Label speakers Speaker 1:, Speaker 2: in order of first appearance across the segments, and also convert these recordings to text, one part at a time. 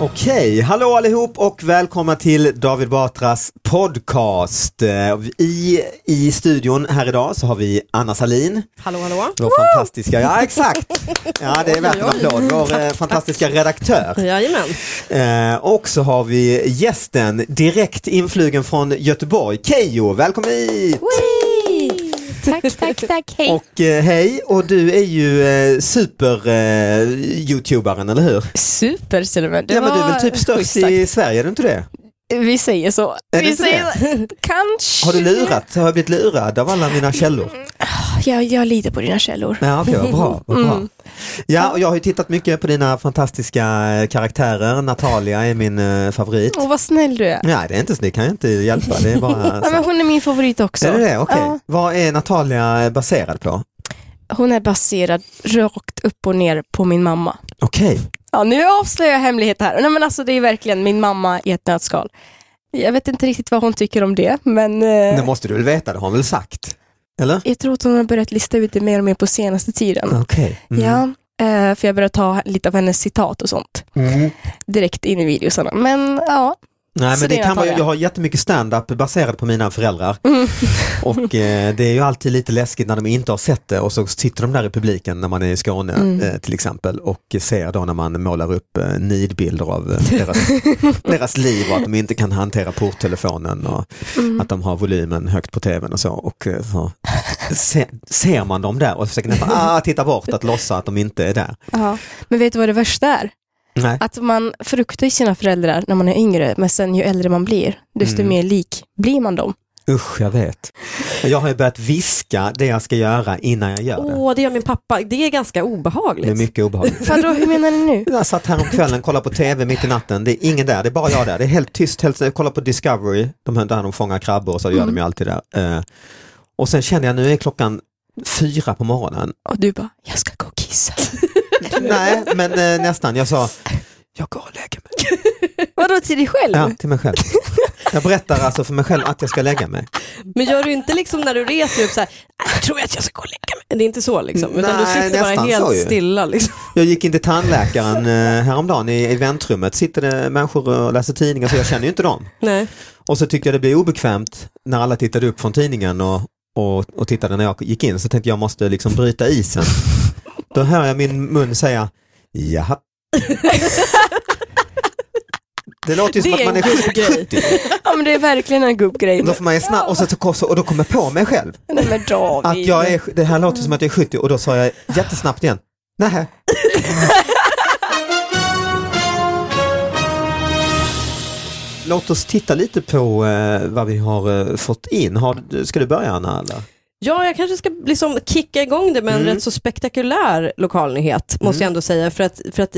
Speaker 1: Okej, hallå allihop och välkomna till David Batras podcast. Eh, I, I studion här idag så har vi Anna Salin.
Speaker 2: Hallå hallå.
Speaker 1: Vår fantastiska, ja exakt, ja det är värt en applåd, vår eh, fantastiska redaktör.
Speaker 2: Jajamän.
Speaker 1: Eh, och så har vi gästen direkt influgen från Göteborg, Keyyo, välkommen hit!
Speaker 3: Tack, tack, tack. Hej.
Speaker 1: Och eh, hej, och du är ju eh, super-youtubaren, eller hur?
Speaker 3: Super till och med. Det
Speaker 1: ja men du är
Speaker 3: var
Speaker 1: väl typ
Speaker 3: schysst
Speaker 1: störst
Speaker 3: sagt.
Speaker 1: i Sverige, är du inte det?
Speaker 3: Vi säger så.
Speaker 1: Är det
Speaker 3: Vi
Speaker 1: inte
Speaker 3: säger så. Kanske.
Speaker 1: Har du lurat? Har jag blivit lurad av alla mina källor?
Speaker 3: Jag, jag litar på dina källor.
Speaker 1: Ja, okej, vad bra. Vad bra.
Speaker 3: Mm.
Speaker 1: Ja, och jag har ju tittat mycket på dina fantastiska eh, karaktärer. Natalia är min eh, favorit.
Speaker 3: Åh vad snäll du är.
Speaker 1: Nej, det är inte så, det kan jag inte hjälpa. Det är bara
Speaker 3: Ja, men
Speaker 1: så.
Speaker 3: hon är min favorit också.
Speaker 1: Är det det? Okej.
Speaker 3: Ja,
Speaker 1: Vad är Natalia baserad på?
Speaker 3: hon är baserad rakt upp och ner på min mamma.
Speaker 1: Okej,
Speaker 3: Ja, nu avslöjar jag hemlighet här. Nej, men alltså, det är verkligen min mamma i ett nötskal. Jag vet inte riktigt vad hon tycker om det, men eh,
Speaker 1: det måste du väl veta, det har hon väl sagt? Eller?
Speaker 3: jag tror att hon har börjat lista ut det mer och mer på senaste tiden.
Speaker 1: Okej. Mm.
Speaker 3: Ja, eh, för jag började ta lite av hennes citat och sånt
Speaker 1: Mm.
Speaker 3: direkt in i videosarna. Men ja,
Speaker 1: Nej
Speaker 3: Så
Speaker 1: men det
Speaker 3: det är
Speaker 1: kan vara,
Speaker 3: Natalia.
Speaker 1: jag har jättemycket stand-up baserat på mina föräldrar
Speaker 3: Mm.
Speaker 1: och eh, det är ju alltid lite läskigt när de inte har sett det och så sitter de där i publiken när man är i Skåne
Speaker 3: Mm.
Speaker 1: eh, till exempel och ser då när man målar upp eh, nidbilder av eh, deras, deras liv och att de inte kan hantera porttelefonen och
Speaker 3: Mm.
Speaker 1: att de har volymen högt på tvn och så och eh, så se, ser man dem där och försöker nästan ah, titta bort att låtsas att de inte är där.
Speaker 3: ja. Men vet du vad det värsta är?
Speaker 1: Nej.
Speaker 3: Att man fruktar ju sina föräldrar när man är yngre, men sen ju äldre man blir, desto
Speaker 1: Mm.
Speaker 3: mer lik blir man dem.
Speaker 1: Usch, jag vet. Jag har ju börjat viska det jag ska göra innan jag gör det.
Speaker 2: Åh, det gör min pappa. Det är ganska
Speaker 1: Det är
Speaker 2: obehagligt.
Speaker 1: mycket obehagligt.
Speaker 3: Vadå, hur menar ni nu?
Speaker 1: Jag satt här om kvällen, kollade på tv mitt i natten, det är ingen där, det är bara jag där. Det är helt tyst, helt, jag kollar på Discovery, de här där de fångar krabbor och så gör de ju alltid där. Eh, och sen känner jag nu är klockan fyra på morgonen.
Speaker 3: Och du bara, jag ska gå och kissa.
Speaker 1: Nej, men eh, nästan. Jag sa, jag går och lägger mig.
Speaker 3: Vadå, till dig själv?
Speaker 1: Ja, till mig själv. Jag berättar alltså för mig själv att jag ska lägga mig.
Speaker 2: Men gör du inte liksom när du reser upp så här, jag tror att jag ska gå och lägga mig. Det är inte så liksom,
Speaker 1: Nej,
Speaker 2: utan du sitter bara
Speaker 1: nästan så ju.
Speaker 2: helt stilla. Liksom.
Speaker 1: Jag gick in till tandläkaren eh, häromdagen i, i väntrummet, sitter det människor och läser tidningar så jag känner ju inte dem.
Speaker 2: Nej.
Speaker 1: Och så tyckte jag det blev obekvämt när alla tittade upp från tidningen och, och, och tittade när jag gick in så tänkte jag måste liksom bryta isen. Då hör jag min mun säga jaha. Det låter ju som
Speaker 2: Det
Speaker 1: att
Speaker 2: är
Speaker 1: man är
Speaker 2: en god grej.
Speaker 1: 70.
Speaker 3: Ja, men det är verkligen en gubbgrej.
Speaker 1: Då får man ju snabb, och, så, och, så, och då kommer jag på mig själv
Speaker 3: Nej men David.
Speaker 1: att jag är, det här låter som att jag är 70 och då sa jag jättesnabbt igen, nej. Låt oss titta lite på eh, vad vi har eh, fått in. Har, du- ska du börja Anna? Eller?
Speaker 2: Ja, jag kanske ska liksom kicka igång det med en
Speaker 1: Mm.
Speaker 2: rätt så spektakulär lokalnyhet, måste jag ändå säga. För att, för att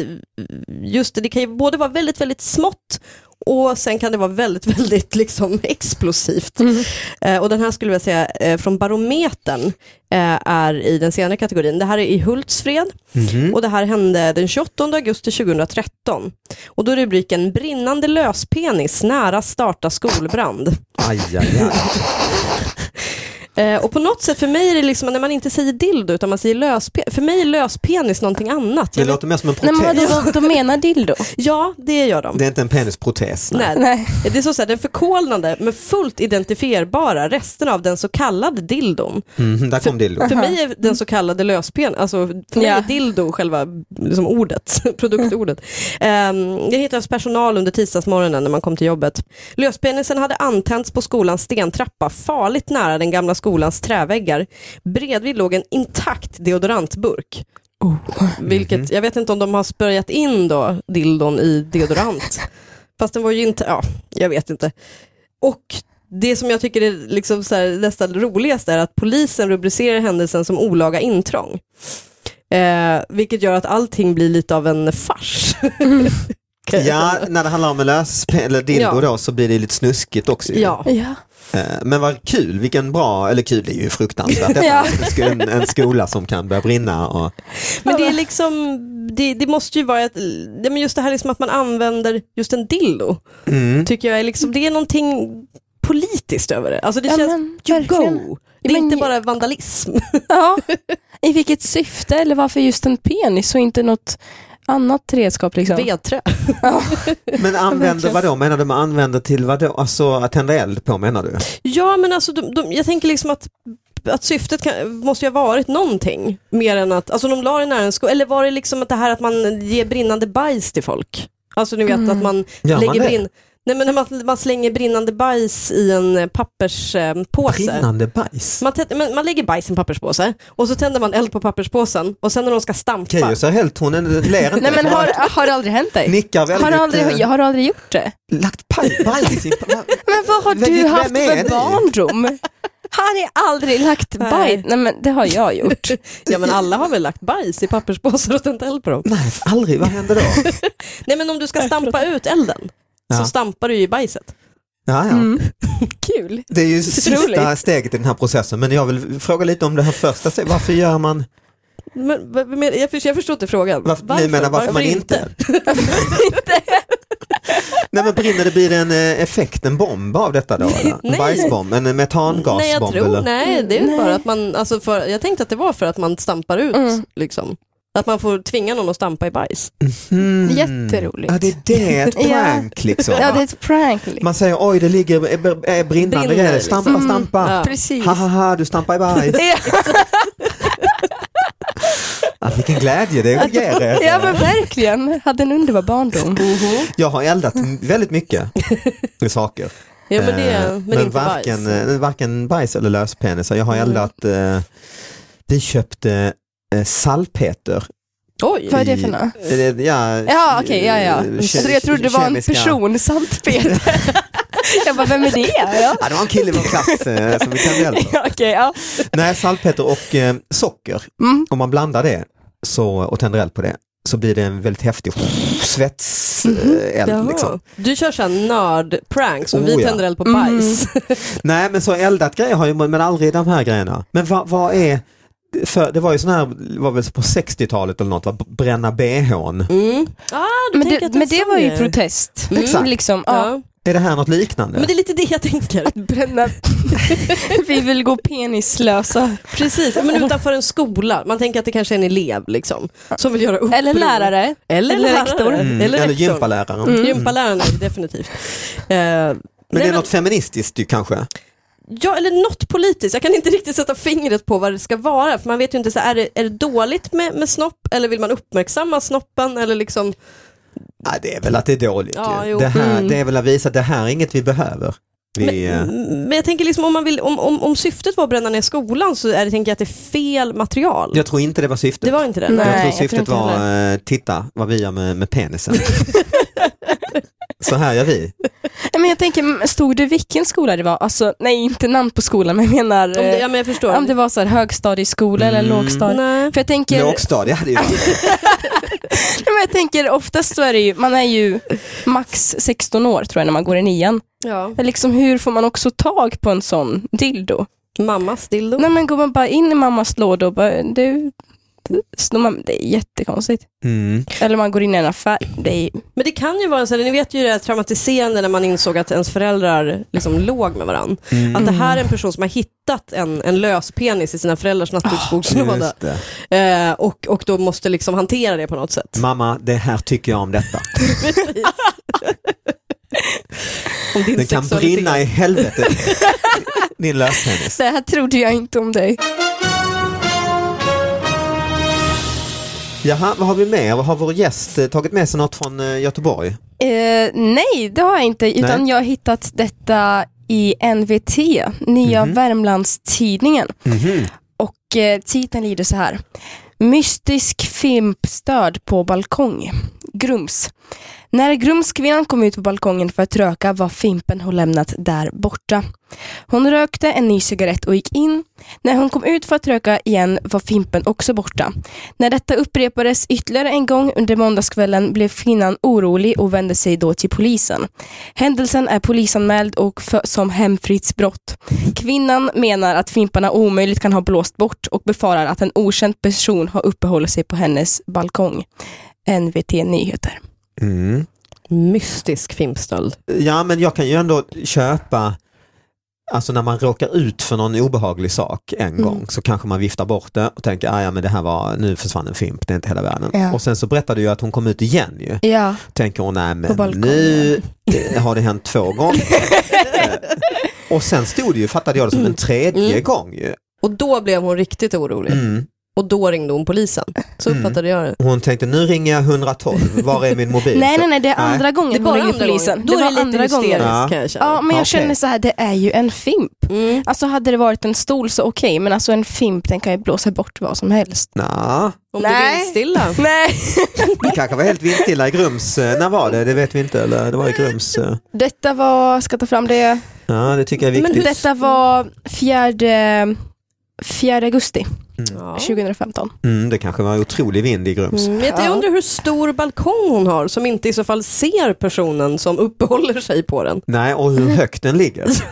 Speaker 2: just det, det kan ju både vara väldigt, väldigt smått och sen kan det vara väldigt, väldigt liksom explosivt.
Speaker 1: Mm.
Speaker 2: Eh, och den här skulle jag säga eh, från Barometern eh, är i den senare kategorin. Det här är i Hultsfred
Speaker 3: Mhm.
Speaker 2: och det här hände den 28 augusti 2013. Och då är rubriken Brinnande löspenis nära starta skolbrand.
Speaker 1: Aj, aj, aj.
Speaker 2: Eh, och på något sätt för mig är det liksom när man inte säger dildo utan man säger löspenis. För mig är löspenis någonting annat.
Speaker 1: Det
Speaker 2: Jag vet-
Speaker 1: låter mer som en
Speaker 3: Nej, men
Speaker 1: protes.
Speaker 3: vadå, de, de menar dildo?
Speaker 2: Ja, det gör de.
Speaker 1: Det är inte en penisprotes.
Speaker 2: Nej.
Speaker 3: Nej.
Speaker 2: Det är så så här, den förkolnade men fullt identifierbara resten av den så kallade dildon.
Speaker 1: Mhm, där kom dildo.
Speaker 2: För mig är den så kallade löspen, alltså för mig
Speaker 3: Ja.
Speaker 2: är dildo själva liksom ordet, produktordet. Um, det hittades personal under tisdagsmorgonen när man kom till jobbet. Löspenisen hade antänts på skolans stentrappa, farligt nära den gamla skolans träväggar. Bredvid låg en intakt deodorantburk. Vilket, jag vet inte om de har sprayat in då dildon i deodorant. Fast den var ju inte, ja, jag vet inte. Och det som jag tycker är liksom så här, nästan roligast är att polisen rubricerar händelsen som olaga intrång. Eh, vilket gör att allting blir lite av en fars. Kan jag
Speaker 1: Ja,
Speaker 2: känna.
Speaker 1: när det handlar om en lös eller dildo
Speaker 2: Ja.
Speaker 1: då så blir det lite snuskigt också. ju.
Speaker 2: ja.
Speaker 3: Ja.
Speaker 1: Eh, Men vad kul, vilken bra, eller kul är ju fruktansvärt. Detta
Speaker 3: Ja.
Speaker 1: är en, en skola som kan börja brinna. Och,
Speaker 2: Men det är liksom, det, det måste ju vara ett, det, men just det här liksom att man använder just en dildo.
Speaker 1: mm.
Speaker 2: Tycker jag är liksom, det är någonting politiskt över det. Alltså det
Speaker 3: Ja,
Speaker 2: känns,
Speaker 3: men
Speaker 2: you
Speaker 3: verkligen.
Speaker 2: go. Det är
Speaker 3: Men-
Speaker 2: inte bara vandalism.
Speaker 3: Ja. I vilket syfte eller varför just en penis och inte något annat redskap liksom?
Speaker 2: Vedträ.
Speaker 1: Men använder vadå, menar du man använder till vadå, alltså att tända eld på menar du?
Speaker 2: Ja men alltså de, de, jag tänker liksom att, att syftet kan, måste ju ha varit någonting mer än att, alltså de la det nära en sko, eller var det liksom att det här att man ger brinnande bajs till folk? Alltså ni vet att man
Speaker 1: Gör man
Speaker 2: lägger
Speaker 1: det?
Speaker 2: brinn, nej men när man, man slänger brinnande bajs i en eh, papperspåse.
Speaker 1: Brinnande bajs?
Speaker 2: man, tänder- men man lägger bajs i en papperspåse och så tänder man eld på papperspåsen och sen när de ska stampa.
Speaker 1: Keyyo så helt hon en- ler inte.
Speaker 3: Nej men
Speaker 1: Hon
Speaker 3: har, har det aldrig hänt dig?
Speaker 1: nickar väldigt.
Speaker 3: Har du,
Speaker 1: eh,
Speaker 3: aldrig, jag har du aldrig gjort det?
Speaker 1: Lagt paj- bajs i...
Speaker 3: Men vad har
Speaker 1: Vem- vem
Speaker 3: du haft
Speaker 1: är
Speaker 3: för
Speaker 1: ni?
Speaker 3: barndom? Han är aldrig lagt
Speaker 2: Nej.
Speaker 3: bajs. Nej men det har jag gjort.
Speaker 2: Ja men alla har väl lagt bajs i papperspåsar och tänt eld på dem.
Speaker 1: Nej, aldrig, vad händer då?
Speaker 2: Nej men om du ska stampa ut elden
Speaker 1: Ja.
Speaker 2: så stampar du ju i bajset.
Speaker 1: Ja, ja.
Speaker 3: Mm. Kul.
Speaker 1: Det är ju sista
Speaker 3: Otroligt.
Speaker 1: steget i den här processen, men jag vill fråga lite om det här första steget. Varför gör man,
Speaker 2: Men, vad- vad menar- jag, förstår, jag förstår inte frågan.
Speaker 1: varför, ni menar varför, man inte? Nej men brinner det, blir det en eh, effekt, en bomb av detta då? Eller? En
Speaker 2: Nej.
Speaker 1: bajsbomb, en eh, metangasbomb?
Speaker 2: Nej, jag tror,
Speaker 1: eller?
Speaker 2: nej, det är
Speaker 3: Nej.
Speaker 2: bara att man, alltså för, jag tänkte att det var för att man stampar ut,
Speaker 3: Mm.
Speaker 2: liksom. Att man får tvinga någon att stampa i bajs.
Speaker 1: Mm.
Speaker 3: Jätteroligt.
Speaker 1: Ja det är det, ett
Speaker 3: Ja.
Speaker 1: prank liksom.
Speaker 3: Ja det är ett prank. liksom.
Speaker 1: Man säger oj det ligger är, är brinnande
Speaker 2: Brinner,
Speaker 1: grejer,
Speaker 2: liksom.
Speaker 1: stampa,
Speaker 3: Mm.
Speaker 1: stampa.
Speaker 2: Ja.
Speaker 3: Precis.
Speaker 1: Ha ha ha, du stampar i bajs.
Speaker 3: Ja.
Speaker 1: Ah, vilken glädje det ger er.
Speaker 3: Ja men verkligen. Hade en underbar barndom.
Speaker 2: Mm-hmm.
Speaker 1: Jag har eldat väldigt mycket i saker.
Speaker 2: Ja, men det,
Speaker 1: Eh,
Speaker 2: men inte
Speaker 1: varken,
Speaker 2: bajs.
Speaker 1: eh, varken bajs eller löspenisar. Jag har
Speaker 2: Mm.
Speaker 1: eldat, eh, vi köpte eh, salpeter.
Speaker 2: Oj!
Speaker 3: Vad är det
Speaker 1: i-
Speaker 3: för nå?
Speaker 1: eh, Ja,
Speaker 3: Ja okej, ja ja.
Speaker 1: eh,
Speaker 3: Så jag trodde det var en
Speaker 1: kemiska-
Speaker 3: person, sant Peter. Jag bara, vem är det? Ja.
Speaker 1: Ja, det var en kille i vår klass eh, som vi kände elda.
Speaker 3: Ja, okej, ja.
Speaker 1: Nej, salpeter och eh, socker.
Speaker 3: Mm.
Speaker 1: Om man blandar det så, och tänder eld på det så blir det en väldigt häftig svetseld.
Speaker 2: Jaha.
Speaker 1: liksom.
Speaker 2: Du kör såhär nörd-pranks och
Speaker 1: Oh,
Speaker 2: vi
Speaker 1: ja.
Speaker 2: tänder eld på bajs.
Speaker 1: Nej, men så eldat grejer har ju, men aldrig de här grejerna. Men vad vad är, för det var ju sån här, var väl på 60-talet eller något, va? bränna bhn.
Speaker 2: Mm. Ah, du
Speaker 3: Men,
Speaker 2: tänker
Speaker 3: det,
Speaker 2: att det
Speaker 3: men
Speaker 2: är
Speaker 3: det
Speaker 2: sån
Speaker 3: var ju
Speaker 2: grej.
Speaker 3: protest.
Speaker 2: Mm.
Speaker 1: Exakt.
Speaker 3: Liksom, ja.
Speaker 2: Ja.
Speaker 1: Är det här något liknande?
Speaker 2: Men det är lite det jag tänker.
Speaker 3: Bränna. Vi vill gå penislösa.
Speaker 2: Precis, men utanför en skola. Man tänker att det kanske är en elev liksom, som vill göra uppror.
Speaker 3: Eller lärare.
Speaker 2: Eller,
Speaker 3: Eller
Speaker 2: lärare.
Speaker 3: rektor.
Speaker 1: Mm.
Speaker 2: Eller
Speaker 1: Eller,
Speaker 2: rektorn.
Speaker 1: gympaläraren.
Speaker 2: Mm.
Speaker 1: Mm.
Speaker 2: Gympaläraren är det definitivt. Eh,
Speaker 1: Men
Speaker 2: nej,
Speaker 1: det är något feministiskt ju kanske?
Speaker 2: ja, eller något politiskt. Jag kan inte riktigt sätta fingret på vad det ska vara. För man vet ju inte, så här, är, det, är det dåligt med, med snopp eller vill man uppmärksamma snoppen? Eller liksom,
Speaker 1: Ja, det är väl att det är dåligt
Speaker 2: Ja,
Speaker 1: ju.
Speaker 2: jo.
Speaker 1: Det, här,
Speaker 3: Mm.
Speaker 1: det är väl att visa att det här är inget vi behöver. Vi, eh,
Speaker 2: men jag tänker liksom om, man vill, om, om, om syftet var att bränna ner skolan så är det, tänker jag att det är fel material.
Speaker 1: jag tror inte det var syftet.
Speaker 2: Det var inte det.
Speaker 3: Nej.
Speaker 1: jag tror
Speaker 3: jag tror
Speaker 1: syftet
Speaker 3: inte
Speaker 1: var, eh, titta vad vi gör med, med penisen. Så här gör vi.
Speaker 3: Nej, men jag tänker, stod det vilken skola det var? Alltså, nej, inte namn på skolan, men jag menar
Speaker 2: Om det,
Speaker 3: eh,
Speaker 2: ja, men jag förstår.
Speaker 3: om det var så här högstadieskola eller lågstadie.
Speaker 2: Nej.
Speaker 3: För jag tänker,
Speaker 1: Lågstadie hade ju...
Speaker 3: nej, men jag tänker oftast så är det ju, man är ju max 16 år tror jag när man går i nian.
Speaker 2: Ja.
Speaker 3: Men Liksom, hur får man också tag på en sån dildo?
Speaker 2: Mammas dildo.
Speaker 3: Nej men går man bara in i mammas låda och bara, du, snor man, det är jättekonstigt.
Speaker 1: Mm.
Speaker 3: Eller man går in i en affär, det är ju,
Speaker 2: Men det kan ju vara så här, ni vet ju det här traumatiserande när man insåg att ens föräldrar liksom låg med varandra.
Speaker 1: Mm.
Speaker 2: Att det här är en person som har hittat en, en lös penis i sina föräldrars nattduksbordslåda.
Speaker 1: Ah, Just det.
Speaker 2: Eh, och, och då måste liksom hantera det på något sätt.
Speaker 1: Mamma, det här tycker jag om detta.
Speaker 2: Om din
Speaker 1: Den kan
Speaker 2: sexualitet.
Speaker 1: brinna i helvete. Din löspenis.
Speaker 3: det här trodde jag inte om dig.
Speaker 1: Jaha, vad har vi mer? Vad Har vår gäst eh, tagit med sig något från eh, Göteborg?
Speaker 3: Eh, nej, det har jag inte. Utan
Speaker 1: Nej.
Speaker 3: jag har hittat detta i NVT, Nya
Speaker 1: Mhm.
Speaker 3: Värmlandstidningen. Och eh, titeln lyder så här. Mystisk fimpstöd på balkong. Grums. När Grumskvinnan kom ut på balkongen för att röka var fimpen hon lämnat där borta. Hon rökte en ny cigarett och gick in. När hon kom ut för att röka igen var fimpen också borta. När detta upprepades ytterligare en gång under måndagskvällen blev kvinnan orolig och vände sig då till polisen. Händelsen är polisanmäld och för, som hemfridsbrott. Kvinnan menar att fimparna omöjligt kan ha blåst bort och befarar att en okänd person har uppehållit sig på hennes balkong. NVT Nyheter.
Speaker 1: Mm.
Speaker 2: Mystisk fimpstöld.
Speaker 1: Ja, men jag kan ju ändå köpa, alltså när man råkar ut för någon obehaglig sak en
Speaker 3: Mm.
Speaker 1: gång så kanske man viftar bort det och tänker, "Ah, ja men det här var, nu försvann en fimp, det är inte hela världen.
Speaker 3: Ja.
Speaker 1: Och sen så berättar du ju att hon kom ut igen ju.
Speaker 3: Ja.
Speaker 1: Tänker hon, nej
Speaker 3: På
Speaker 1: men
Speaker 3: balkongen."
Speaker 1: nu eh, har det hänt två gånger. Eh, och sen stod det ju, fattade jag det som en tredje
Speaker 2: Mm.
Speaker 1: gång ju.
Speaker 2: Och då blev hon riktigt orolig.
Speaker 1: Mm.
Speaker 2: Och då ringde hon polisen. Så
Speaker 1: Mm.
Speaker 2: uppfattade jag det.
Speaker 1: Hon tänkte, nu ringer jag 112, var är min mobil?
Speaker 3: Nej,
Speaker 1: Så-
Speaker 3: nej, nej, det är andra
Speaker 2: Det är
Speaker 3: gången hon
Speaker 2: bara
Speaker 3: ringer
Speaker 2: andra
Speaker 3: polisen.
Speaker 2: gången. Då
Speaker 3: var
Speaker 2: är det lite hysteriskt
Speaker 1: gången.
Speaker 2: kan jag känna.
Speaker 3: Ja, men jag
Speaker 1: Okej.
Speaker 3: känner så här, det är ju en fimp.
Speaker 2: Mm.
Speaker 3: Alltså hade det varit en stol så okej, men alltså en fimp den kan ju blåsa bort vad som helst.
Speaker 1: Nå,
Speaker 2: Om
Speaker 3: Nej.
Speaker 2: du vill stilla.
Speaker 3: Nej.
Speaker 1: det kanske var helt vindstilla i Grums, eh, när var det? Det vet vi inte, eller det var i Grums. eh.
Speaker 3: Detta var, ska ta fram det,
Speaker 1: Ja, det tycker jag är
Speaker 2: Men
Speaker 1: viktigt.
Speaker 3: detta var 4, 4 augusti
Speaker 2: Ja.
Speaker 3: 2015.
Speaker 1: Mm, det kanske var otrolig vind i Grums.
Speaker 2: Mm, vet, du, jag
Speaker 3: Ja.
Speaker 2: undrar hur stor balkong hon har som inte i så fall ser personen som uppehåller sig på den.
Speaker 1: Nej, och
Speaker 3: Mm.
Speaker 1: hur högt den ligger.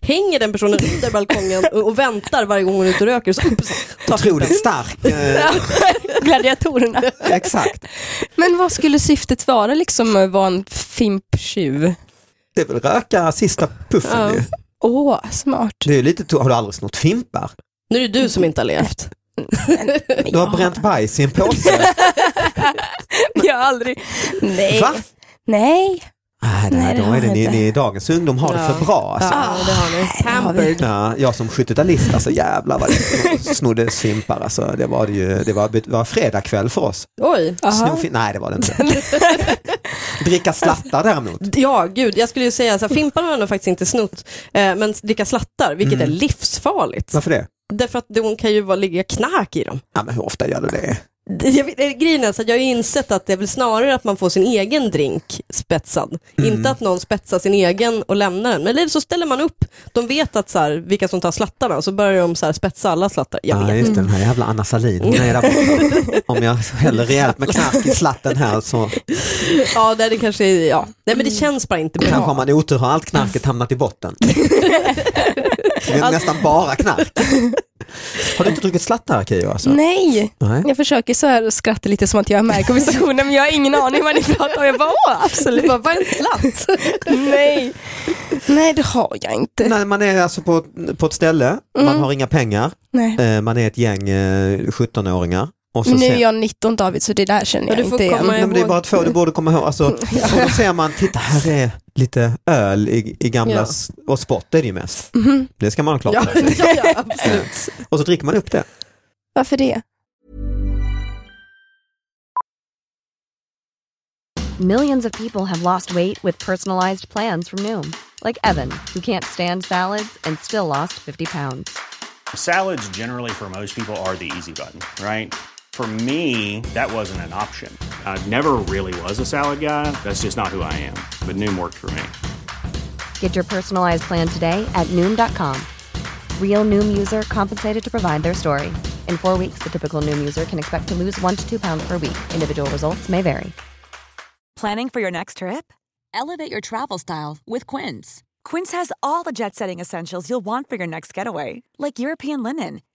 Speaker 2: Hänger den personen under balkongen och och väntar varje gång hon är ute och röker? Så, ups, tar
Speaker 1: Otroligt stark. Eh,
Speaker 3: Gladiatorerna.
Speaker 1: exakt.
Speaker 3: Men vad skulle syftet vara liksom med att vara en fimptjuv?
Speaker 1: Det är väl röka sista puffen
Speaker 2: Ja.
Speaker 1: ju.
Speaker 3: Åh, smart.
Speaker 1: Det är ju lite to- har du aldrig snott fimpar?
Speaker 2: Nu är det du som inte har levt.
Speaker 1: Du har bränt bajs i en påse.
Speaker 3: Jag har aldrig... Nej.
Speaker 1: Va?
Speaker 3: Nej.
Speaker 1: Nej, det,
Speaker 3: Nej,
Speaker 1: här,
Speaker 3: det
Speaker 1: då
Speaker 3: har
Speaker 1: är det,
Speaker 3: jag
Speaker 1: ni,
Speaker 3: inte.
Speaker 1: ni, dagens ungdom har det
Speaker 2: Ja.
Speaker 1: för bra. Alltså.
Speaker 2: Ja, Ah, det har ni. Pampered.
Speaker 1: Ja, jag som 70-talist, alltså jävlar vad det snoddes fimpar. Alltså, det var, det ju, det var, det var fredagkväll för oss.
Speaker 2: Oj.
Speaker 1: Sno fim- Nej, det var det inte. Dricka slattar däremot.
Speaker 2: Ja, gud. Jag skulle ju säga så här, Fimparna har nog faktiskt inte snott, eh, men dricka slattar, vilket är livsfarligt.
Speaker 1: Varför det?
Speaker 2: Därför att det- hon kan ju vara, ligga knark i dem.
Speaker 1: Ja, men hur ofta gör du det?
Speaker 2: Det- Jag, vet- eh, grejen är så att jag har ju insett att det är väl snarare att man får sin egen drink spetsad.
Speaker 3: Mm.
Speaker 2: Inte att någon spetsar sin egen och lämnar den. Men Eller så ställer man upp, de vet att så här, vilka som tar slattarna, så börjar de så här, spetsa alla slattar. Jag
Speaker 1: Ja,
Speaker 2: vet.
Speaker 1: just det, den här jävla Anna Sahlin. Hon är där borta. Om jag häller rejält med knark i slatten här så
Speaker 2: Ja, det, är det kanske är, ja. Nej,
Speaker 3: Mm.
Speaker 2: men det känns bara inte
Speaker 1: kanske om
Speaker 2: bra.
Speaker 1: man är otur har allt knarket hamnat i botten. Det är nästan bara knark. Har du inte druckit slattar Keyyo? Alltså?
Speaker 3: Nej.
Speaker 1: Nej.
Speaker 3: Jag försöker så här skratta lite som att jag är med i konversationen men jag har ingen aning vad ni pratar om. Jag bara, åh, absolut.
Speaker 2: Bara, bara en slatt.
Speaker 3: Nej. Nej, det har jag inte.
Speaker 1: Nej, man är alltså på, på ett ställe, man har inga pengar,
Speaker 3: Nej.
Speaker 1: eh, man är ett gäng eh, 17-åringar. Och så
Speaker 3: Nu
Speaker 1: ser-
Speaker 3: är jag 19 David så det där känner
Speaker 2: Ja,
Speaker 3: jag
Speaker 2: du får
Speaker 3: inte igen.
Speaker 2: komma
Speaker 1: Nej, men det är bara två, du borde komma ihåg. Alltså, och då ser man, titta här är lite öl i, i gamla,
Speaker 2: Ja.
Speaker 1: s- och spott är det ju mest. Det ska man ha klart
Speaker 2: Ja,
Speaker 1: för sig.
Speaker 2: ja, ja, absolut.
Speaker 1: Eh, Och så dricker man upp det.
Speaker 3: Varför det?
Speaker 4: Millions of people have lost weight with personalized plans from Noom, like Evan, who can't stand salads and still lost 50 pounds.
Speaker 5: Salads, generally, for most people, are the easy button, right? For me, that wasn't an option. I never really was a salad guy. That's just not who I am. But Noom worked for me.
Speaker 4: Get your personalized plan today at Noom.com. Real Noom user compensated to provide their story. In four weeks, the typical Noom user can expect to lose one to two pounds per week. Individual results may vary.
Speaker 6: Planning for your next trip? Elevate your travel style with Quince. Quince has all the jet setting essentials you'll want for your next getaway, like European linen,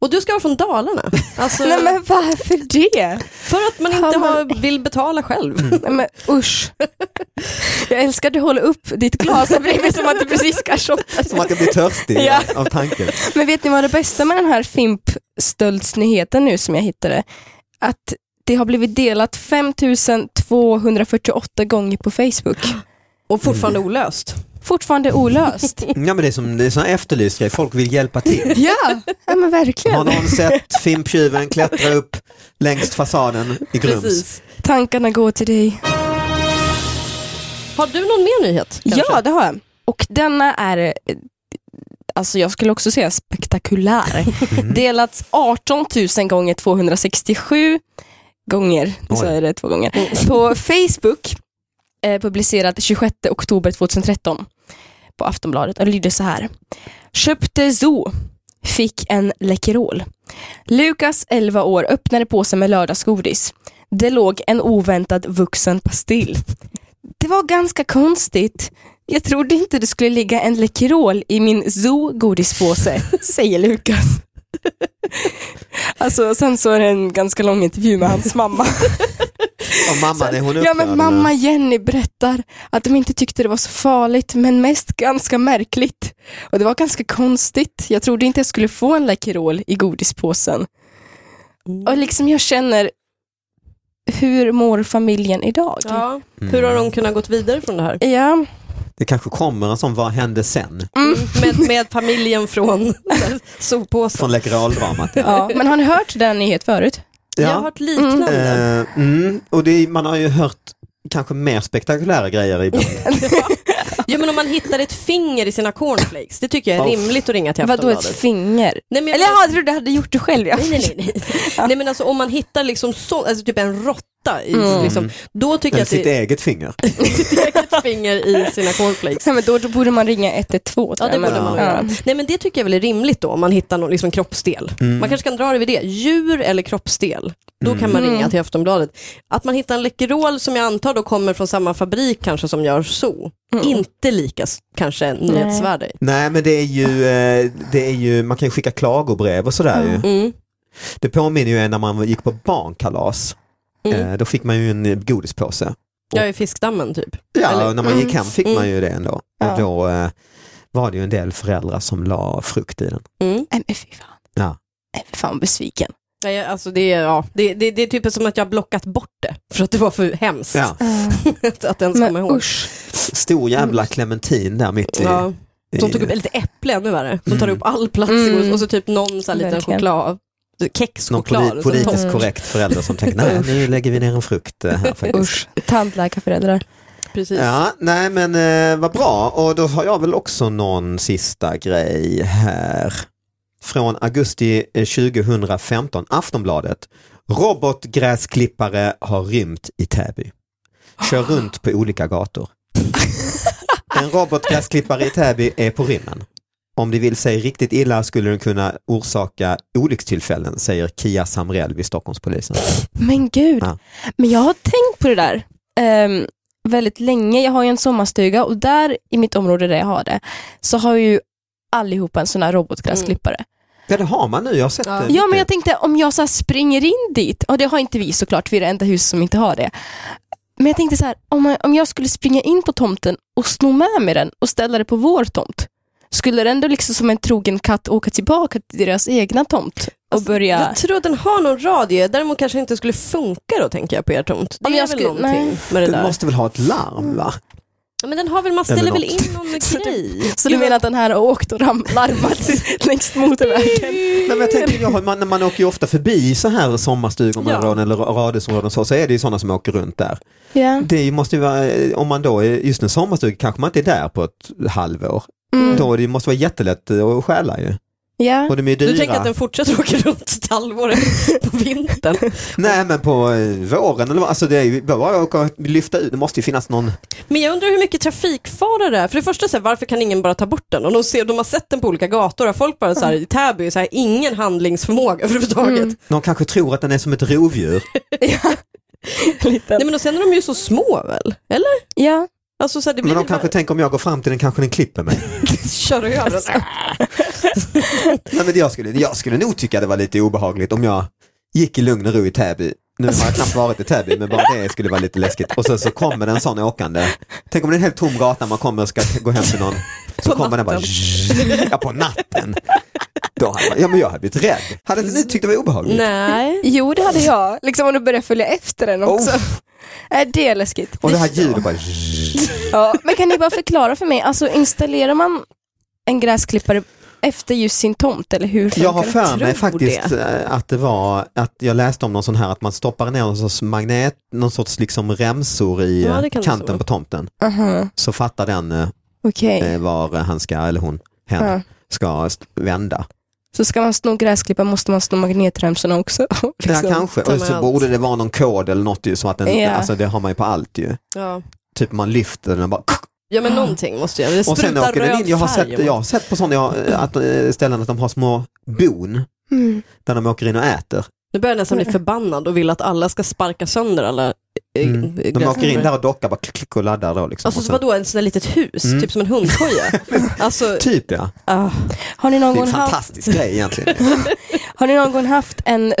Speaker 2: Och du ska vara från Dalarna. Alltså,
Speaker 3: Nej men varför det?
Speaker 2: För att man
Speaker 3: Har
Speaker 2: inte
Speaker 3: man-
Speaker 2: har, vill betala själv.
Speaker 3: Nej men usch. Jag älskar att du håller upp ditt glas här bredvid som att du precis ska shoppa.
Speaker 1: Som att jag blir törstig
Speaker 3: Ja.
Speaker 1: av tanken.
Speaker 3: Men vet ni vad det bästa med den här fimpstöldsnyheten nu som jag hittade? Att det har blivit delat 5248 gånger på Facebook.
Speaker 2: Och fortfarande
Speaker 3: Mm.
Speaker 2: olöst.
Speaker 3: Fortfarande olöst.
Speaker 1: Ja, men det är som det är sån här efterlyst grej, folk vill hjälpa till.
Speaker 3: ja, ja, men verkligen.
Speaker 1: Har någon sett fimptjuven klättra upp längs fasaden i Grums?
Speaker 2: Precis.
Speaker 3: Tankarna går till dig.
Speaker 2: Har du någon mer nyhet? kanske?
Speaker 3: Ja, det har jag. Och denna är, eh, alltså jag skulle också säga spektakulär.
Speaker 1: Mm. Mm-hmm.
Speaker 3: Delats 18 000 gånger 267 gånger, så
Speaker 1: Oj.
Speaker 3: är det två gånger, på Facebook, eh, publicerat 26 oktober 2013 på Aftonbladet och det lyder så här. Köpte zoo, fick en Läkerol. Lukas, 11 år, öppnade påsen med lördagsgodis. Det låg en oväntad vuxen pastill. Det var ganska konstigt. Jag trodde inte det skulle ligga en Läkerol i min zoo-godispåse, säger Lukas. Alltså sen så är det en ganska lång intervju med hans mamma.
Speaker 1: Och mamman, är hon
Speaker 3: Ja
Speaker 1: upprörd?
Speaker 3: men mamma Jenny berättar att de inte tyckte det var så farligt men mest ganska märkligt. Och det var ganska konstigt. Jag trodde inte jag skulle få en Läkerol i godispåsen.
Speaker 2: Mm.
Speaker 3: Och liksom jag känner, hur mår familjen idag?
Speaker 2: Ja. Hur har
Speaker 3: Mm.
Speaker 2: de kunnat gått vidare från det här?
Speaker 3: Ja,
Speaker 1: Mm. Det kanske kommer en sån, vad hände sen?
Speaker 2: Med, med familjen från soppåsen.
Speaker 1: Från Läkerol-dramat. Ja.
Speaker 3: ja. men har ni hört den nyhet förut?
Speaker 2: Jag har hört liknande.
Speaker 1: Eh, mm, och det, är- man har ju hört kanske mer spektakulära grejer ibland.
Speaker 2: Ja, men om man hittar ett finger i sina cornflakes, det tycker jag är
Speaker 1: Off.
Speaker 2: rimligt att ringa till
Speaker 3: Vadå ett
Speaker 2: Aftonbladet.
Speaker 3: finger?
Speaker 2: Nej, men jag-
Speaker 3: Eller ja, jag trodde du hade gjort det själv. Ja.
Speaker 2: Nej, nej, nej. nej. nej men alltså om man hittar liksom så, alltså typ en råtta, i,
Speaker 3: Mm.
Speaker 2: liksom, då tycker jag
Speaker 1: Eller
Speaker 2: att
Speaker 1: sitt
Speaker 2: det är
Speaker 1: eget finger.
Speaker 2: ett finger i sina cornflakes.
Speaker 3: Ja, men då, då borde man ringa 112
Speaker 2: Ja,
Speaker 3: tror
Speaker 2: det
Speaker 3: jag.
Speaker 2: borde
Speaker 3: Men-
Speaker 2: man nog göra. Nej, men det tycker jag väl är rimligt då, om man hittar någon liksom, kroppsdel. Man kanske kan dra det vid det. Djur eller kroppsdel, då kan man ringa till Aftonbladet. Att man hittar en Läkerol som jag antar då kommer från samma fabrik kanske som gör så. Inte lika s- kanske nyhetsvärde.
Speaker 1: Nej men det är ju, eh, det är ju man kan ju skicka klagobrev och sådär ju.
Speaker 2: Mm.
Speaker 1: Det påminner ju en när man gick på barnkalas. Eh, Då fick man ju en godispåse.
Speaker 2: Mm. Jag är i fiskdammen typ.
Speaker 1: Ja,
Speaker 2: Eller-
Speaker 1: och när man gick hem fick man
Speaker 2: Mm.
Speaker 1: ju det ändå.
Speaker 3: Ja.
Speaker 1: Och då eh, var det ju en del föräldrar som la frukt i den.
Speaker 2: Mm.
Speaker 3: Nej, men fy fan.
Speaker 1: Ja.
Speaker 3: Nej, fy fan besviken.
Speaker 2: Nej, alltså det, är, ja, det, det, det är typ som att jag har blockat bort det för att det var för hemskt
Speaker 1: Ja.
Speaker 2: att, att ens komma
Speaker 3: Men
Speaker 2: ihåg.
Speaker 3: usch.
Speaker 1: Stor jävla clementin där mitt i.
Speaker 2: Mm. Ja,
Speaker 1: i
Speaker 2: de tog upp lite äpple ännu värre. De tar upp all plats
Speaker 3: Mm.
Speaker 2: och så typ någon så här liten
Speaker 3: Verkligen.
Speaker 2: choklad,
Speaker 1: någon
Speaker 2: kexchoklad.
Speaker 1: poli-
Speaker 2: och så topp.
Speaker 1: politiskt korrekt förälder som tänkte nej nu lägger vi ner en frukt eh, här faktiskt.
Speaker 3: Usch. Tandläkarföräldrar.
Speaker 2: Precis.
Speaker 1: Ja, nej men eh, vad bra. Och då har jag väl också någon sista grej här. Från augusti eh, 2015, Aftonbladet. Robotgräsklippare har rymt i Täby. Kör runt på olika gator. En robotgräsklippare i Täby är på rymmen. Om det vill sig riktigt illa skulle den kunna orsaka olyckstillfällen, säger Kia Samrell vid Stockholmspolisen.
Speaker 3: Men gud.
Speaker 1: Ja.
Speaker 3: Men jag har tänkt på det där ehm, väldigt länge. Jag har ju en sommarstuga och där i mitt område där jag har det så har ju allihopa en sån här robotgräsklippare.
Speaker 1: Ja, det har man nu, jag har sett Mm. det.
Speaker 3: Ja men jag tänkte om jag så här springer in dit, och det har inte vi såklart, vi är det enda hus som inte har det. Men jag tänkte så här, om, man, om jag skulle springa in på tomten och sno med mig den och ställa det på vår tomt, skulle den då liksom som en trogen katt åka tillbaka till deras egna tomt och börja...
Speaker 2: Jag tror att den har någon radie, däremot kanske inte skulle funka då tänker jag på er tomt. Det
Speaker 3: Om
Speaker 2: är
Speaker 3: jag
Speaker 2: väl
Speaker 3: skulle-
Speaker 2: någonting
Speaker 3: nej.
Speaker 2: med det
Speaker 1: Du
Speaker 2: där.
Speaker 1: måste väl ha ett larm va?
Speaker 2: Ja, men den har väl, man ställer
Speaker 1: Eller
Speaker 2: väl
Speaker 1: något.
Speaker 2: in någon
Speaker 3: Så det-
Speaker 2: grej?
Speaker 3: Så du menar att den här har åkt och ram- larmat längs motorvägen?
Speaker 1: Nej, men jag tänker, jag, har- man, när man åker ju ofta förbi så här sommarstugområden eller radhusområden så, så är det ju sådana som åker runt där.
Speaker 3: Ja.
Speaker 1: Det måste ju vara, eh, om man då är just en sommarstuga kanske man inte är där på ett halvår.
Speaker 3: Mm.
Speaker 1: Då det måste vara jättelätt eh, att stjäla ju.
Speaker 3: Ja.
Speaker 1: Och de är ju dyra.
Speaker 2: Du tänker att den fortsätter åka runt ett halvår på vintern?
Speaker 1: Nej men på eh, våren eller vad, alltså det är ju bara att åka och lyfta ut, det måste ju finnas någon.
Speaker 2: Men jag undrar hur mycket trafikfara det är. För det första, så här, varför kan ingen bara ta bort den? Och de, ser, de har sett den på olika gator. Och folk bara så här, i Täby, så här, ingen handlingsförmåga överhuvudtaget.
Speaker 1: Någon kanske tror att den är som ett rovdjur.
Speaker 3: Liten.
Speaker 2: Nej, men och sen är de ju så små väl? Eller?
Speaker 3: ja.
Speaker 2: Alltså, så här, det blir
Speaker 1: Men de
Speaker 2: väl bara-
Speaker 1: kanske tänker om jag går fram till den kanske den klipper mig.
Speaker 2: kör över den.
Speaker 1: Nej, men jag, skulle, jag skulle nog tycka det var lite obehagligt om jag gick i lugn och ro i Täby. Nu har jag knappt varit i Täby men bara det skulle vara lite läskigt. Och sen så kommer det en sån åkande. Tänk om det är en helt tom gata man kommer och ska gå hem till någon. Så
Speaker 2: På
Speaker 1: kommer den bara ja, på natten. Då hade man, ja men jag hade blivit rädd. Hade inte ni tyckt det var obehagligt?
Speaker 2: Nej.
Speaker 3: Jo, det hade jag. Liksom om du börjar följa efter den också.
Speaker 1: Oh.
Speaker 3: Är det är läskigt.
Speaker 1: Och det här ljudet bara
Speaker 3: Ja. Men kan ni bara förklara för mig, alltså installerar man en gräsklippare efter just sin tomt eller hur funkar
Speaker 1: Jag har
Speaker 3: det?
Speaker 1: för mig
Speaker 2: tro
Speaker 1: faktiskt eh, att det var att jag läste om någon sån här att man stoppar ner någon sorts magnet, någon sorts liksom remsor i
Speaker 2: Ja,
Speaker 1: eh,
Speaker 2: det kan det
Speaker 1: kanten
Speaker 2: vara.
Speaker 1: på tomten.
Speaker 3: Aha,
Speaker 1: Så fattar den eh,
Speaker 3: okej.
Speaker 1: eh, var han ska, eller hon, hen,
Speaker 3: Ja.
Speaker 1: ska st- vända.
Speaker 3: Så ska man sno gräsklipparen måste man sno magnetremsorna också? Liksom.
Speaker 1: ja, kanske.
Speaker 2: ta
Speaker 1: Och
Speaker 2: med
Speaker 1: så
Speaker 2: allt.
Speaker 1: borde det vara någon kod eller något ju, som att den,
Speaker 3: Ja.
Speaker 1: alltså det har man ju på allt ju.
Speaker 2: Ja.
Speaker 1: Typ man lyfter den och bara
Speaker 2: ja, men någonting måste jag. Det
Speaker 1: och sen
Speaker 2: sprutar
Speaker 1: åker den
Speaker 2: röd
Speaker 1: in. Jag har
Speaker 2: färg.
Speaker 1: sett, jag har sett på sådana jag, att, eh, ställen att de har små bon
Speaker 3: Mm.
Speaker 1: där de åker in och äter.
Speaker 2: Nu börjar jag nästan bli förbannad och och vill att alla ska sparka sönder alla eh,
Speaker 1: Mm. De
Speaker 2: gräsklippare.
Speaker 1: åker in där och dockar bara klick, klick och laddar då liksom.
Speaker 2: Alltså
Speaker 1: Och sen-
Speaker 2: så vadå, en sån där litet hus,
Speaker 1: Mm.
Speaker 2: typ som en hundkoja? alltså,
Speaker 1: Typ ja,
Speaker 2: ah.
Speaker 3: Har ni någon
Speaker 1: det är
Speaker 3: gång
Speaker 1: en
Speaker 3: haft
Speaker 1: fantastisk grej egentligen.
Speaker 3: Har ni någon gång haft en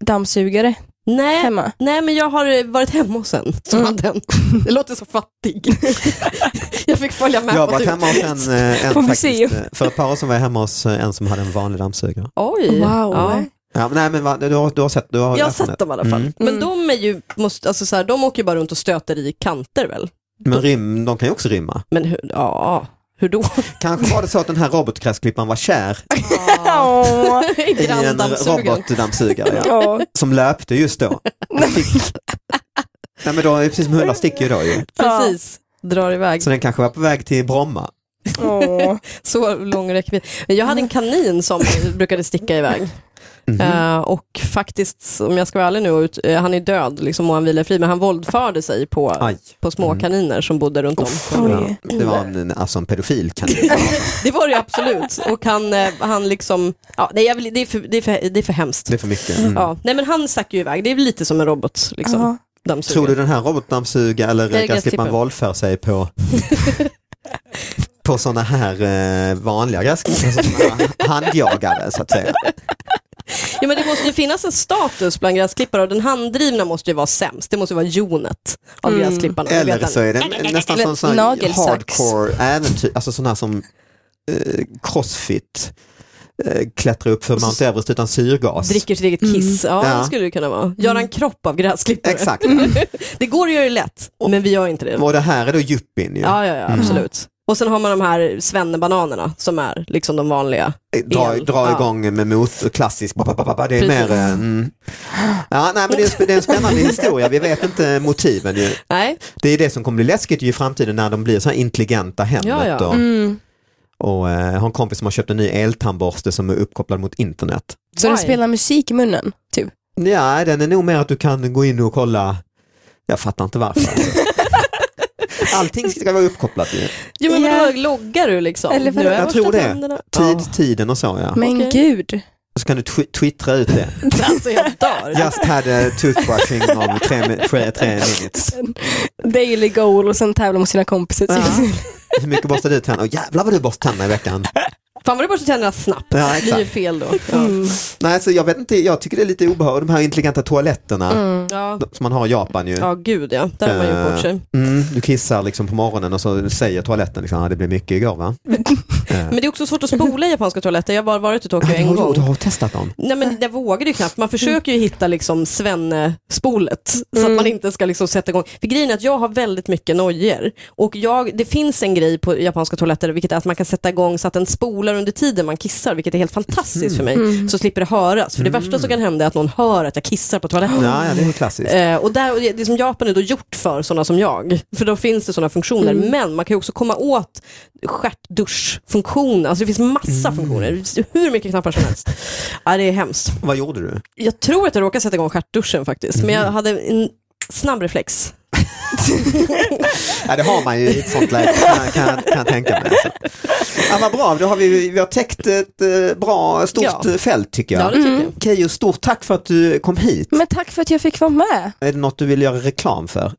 Speaker 3: robotdammsugare
Speaker 2: nej,
Speaker 3: hemma?
Speaker 2: nej, men jag har eh, varit hemma hos en som hade en. Det låter så fattig. jag fick följa med
Speaker 1: Jag har
Speaker 2: på
Speaker 1: varit
Speaker 2: tur.
Speaker 1: hemma hos en, eh, en
Speaker 3: På
Speaker 1: faktiskt,
Speaker 3: museum.
Speaker 1: eh, för ett par år sedan var jag hemma hos eh, en som hade en vanlig dammsugare.
Speaker 2: Oj. Ja.
Speaker 1: Ja, men, nej men va, du, har, du har sett, du har
Speaker 2: Jag har
Speaker 1: erfarenhet.
Speaker 2: sett dem i alla fall.
Speaker 1: Mm.
Speaker 2: Men de är ju, måste, alltså så här, de åker ju bara runt och stöter i kanter väl?
Speaker 1: Men rym, de kan ju också rymma.
Speaker 2: Men hur, ja, hur då?
Speaker 1: Kanske var det så att den här robotgräsklipparen var kär
Speaker 3: Åh.
Speaker 1: i en
Speaker 2: Granndammsugaren.
Speaker 1: robotdammsugare ja,
Speaker 3: Ja.
Speaker 1: som löpte just då. Den fick- Nej men då är det precis som hundar sticker ju då ju.
Speaker 2: Precis, drar iväg.
Speaker 1: Så den kanske var på väg till Bromma.
Speaker 3: Åh.
Speaker 2: Så lång räckvidd. Men jag hade en kanin som brukade sticka iväg.
Speaker 1: Mhm.
Speaker 2: Eh, och faktiskt, om jag ska vara ärlig nu, ut, eh, han är död liksom, och han vilar fri, men han våldförde sig på,
Speaker 1: Aj.
Speaker 2: på små
Speaker 1: Mm.
Speaker 2: kaniner som bodde runt om.
Speaker 1: Ja, det var en, alltså en pedofil kanin.
Speaker 2: Det var det absolut. Och han, eh, han liksom, ja, nej, jag vill, det, är för, det, är för, det är för hemskt.
Speaker 1: Det är för mycket. Mm.
Speaker 2: Ja. Nej men han stack ju iväg, det är väl lite som en robot. Liksom,
Speaker 3: Ja.
Speaker 2: dammsugare.
Speaker 1: Tror du den här robotdammsugaren eller
Speaker 2: Nej,
Speaker 1: gräsklipparen
Speaker 2: gräsklipparen.
Speaker 1: våldför sig på på sådana här eh, vanliga gräsklippare, alltså såna här handjagare så att säga.
Speaker 2: Ja, men det måste ju finnas en status bland gräsklippare och den handdrivna måste ju vara sämst. Det måste ju vara jonet av
Speaker 3: Mm.
Speaker 2: gräsklipparna. Det vet
Speaker 1: Eller
Speaker 2: han.
Speaker 1: så är det nästan
Speaker 3: Eller
Speaker 1: som sån här
Speaker 3: nagelsax.
Speaker 1: hardcore äventyr, alltså sån här som eh, crossfit, eh, klättra upp för Mount Everest utan syrgas.
Speaker 2: Dricker sitt eget kiss, ja,
Speaker 1: Mm. Ja.
Speaker 2: det skulle det kunna vara. Göra en kropp av gräsklippare.
Speaker 1: Exakt.
Speaker 2: Det går att göra det lätt, men vi gör inte det.
Speaker 1: Och Mm. det här är då yuppien ju.
Speaker 2: Ja, ja, ja absolut. Och sen har man de här svennebananerna som är liksom de vanliga.
Speaker 1: Eh, Dra,
Speaker 2: el.
Speaker 1: dra
Speaker 2: Ja.
Speaker 1: igång med motor, klassisk, ba, ba, ba, ba, ba, det är
Speaker 2: Precis.
Speaker 1: mer... eh, Mm. Ja, nej, men det, är, en sp- det är en spännande historia, vi vet inte motiven ju.
Speaker 2: Nej,
Speaker 1: Det är det som kommer bli läskigt ju i framtiden när de blir så här intelligenta hemmet.
Speaker 2: Ja, ja.
Speaker 1: Och,
Speaker 3: Mm.
Speaker 1: och eh, jag har en kompis som har köpt en ny eltandborste som är uppkopplad mot internet.
Speaker 3: Så den
Speaker 2: Why?
Speaker 3: spelar musik i munnen, typ?
Speaker 1: Ja, den är nog mer att du kan gå in och kolla, jag fattar inte varför. Allting ska vara uppkopplat ju.
Speaker 2: jo, men
Speaker 3: Ja.
Speaker 2: vadå, loggar du liksom?
Speaker 3: Eller vadå?
Speaker 2: Nu har
Speaker 1: Jag
Speaker 2: borstat
Speaker 1: tror det.
Speaker 2: tänderna.
Speaker 1: Tid, tiden och så ja.
Speaker 3: Men
Speaker 2: Okej.
Speaker 3: gud.
Speaker 1: Så kan du twi- twittra ut det.
Speaker 2: Ja. Alltså jag dör.
Speaker 1: Just had a toothbrushing of tre, mi- tre, tre minutes.
Speaker 3: Daily goal och sen tävla mot sina kompisar. typ.
Speaker 1: Ja. Hur mycket borstar du tänderna? Åh, jävlar vad du borstar tänderna i veckan.
Speaker 2: Fan vad du borstar tänderna snabbt.
Speaker 1: Ja,
Speaker 2: Det blir ju
Speaker 1: exakt.
Speaker 2: fel då. Ja.
Speaker 3: Mm.
Speaker 1: Nej, så jag vet inte, jag tycker det är lite obehagligt, de här intelligenta toaletterna
Speaker 3: Mm.
Speaker 2: Ja.
Speaker 1: som man har i Japan ju.
Speaker 2: Mm. Ja, gud ja. Där har man
Speaker 1: Eh,
Speaker 2: gjort bort sig.
Speaker 1: Mm, du kissar liksom på morgonen och så säger toaletten liksom, ah, det blev mycket igår va?
Speaker 2: Men det är också svårt att spola i japanska toaletter. Jag har bara varit i Tokyo
Speaker 1: Ja, du
Speaker 2: en
Speaker 1: har,
Speaker 2: gång.
Speaker 1: du har testat dem?
Speaker 2: Nej men jag vågar ju knappt. Man försöker ju hitta liksom svenne-spolet så att man inte ska liksom sätta igång. För grejen är att jag har väldigt mycket nojor och jag, det finns en grej på japanska toaletter vilket är att man kan sätta igång så att den spolar under tiden man kissar vilket är helt fantastiskt för mig. Så slipper det höras. För det värsta som kan hända är att någon hör att jag kissar på toaletten.
Speaker 1: Ja, ja, det är klassiskt.
Speaker 2: Eh, och där, och det det som Japan är då gjort för sådana som jag, för då finns det sådana funktioner. Men man kan ju också komma åt stjärtduschfunktionen, alltså det finns massa funktioner, hur mycket knappar som helst. Ja, det är hemskt.
Speaker 1: Vad gjorde du?
Speaker 2: Jag tror att jag råkade sätta igång stjärtduschen faktiskt, men jag hade en snabb reflex.
Speaker 1: Ja, det har man ju i ett sånt läge, kan, kan, kan jag tänka mig. Alltså. Ja, vad bra, då har vi, vi har täckt ett eh, bra, stort
Speaker 2: Ja.
Speaker 1: eh, fält tycker jag.
Speaker 2: Ja, det tycker jag.
Speaker 1: Keyyo, stort tack för att du kom hit.
Speaker 3: Men tack för att jag fick vara med.
Speaker 1: Är det något du vill göra reklam för?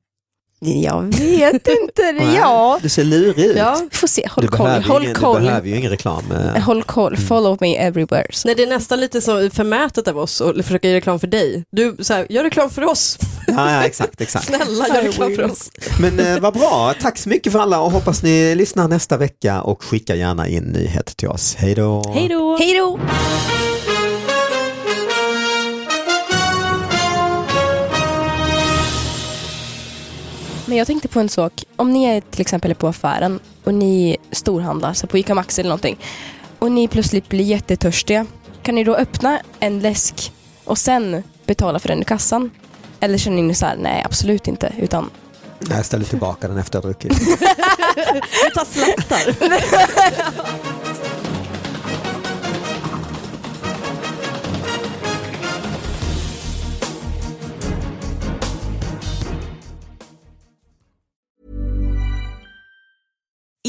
Speaker 3: Jag vet inte, det är jag.
Speaker 1: Du ser lurig ut.
Speaker 3: Ja, vi får se.
Speaker 1: Du
Speaker 3: Håll koll.
Speaker 1: behöver, ju
Speaker 3: Håll
Speaker 1: ingen,
Speaker 3: koll.
Speaker 1: du behöver ju ingen reklam. eh.
Speaker 3: Håll koll. Follow me everywhere.
Speaker 2: Nej, det är nästan lite så förmätet av oss att försöka göra reklam för dig. Du, så här, gör reklam för oss,
Speaker 1: Ja, ja, exakt, exakt.
Speaker 2: snälla gör reklam för oss.
Speaker 1: Men eh, vad bra, tack så mycket för alla och hoppas ni lyssnar nästa vecka och skicka gärna in nyheter till oss. Hej då!
Speaker 2: Hej då!
Speaker 3: Hej då! Men jag tänkte på en sak. Om ni är till exempel på affären och ni storhandlar, så på ICA Maxi eller någonting, och ni plötsligt blir jättetörstiga, kan ni då öppna en läsk och sen betala för den i kassan? Eller känner ni så här, nej absolut inte, utan
Speaker 1: Jag ställer tillbaka den efter jag har druckit.
Speaker 2: Vi tar slattar.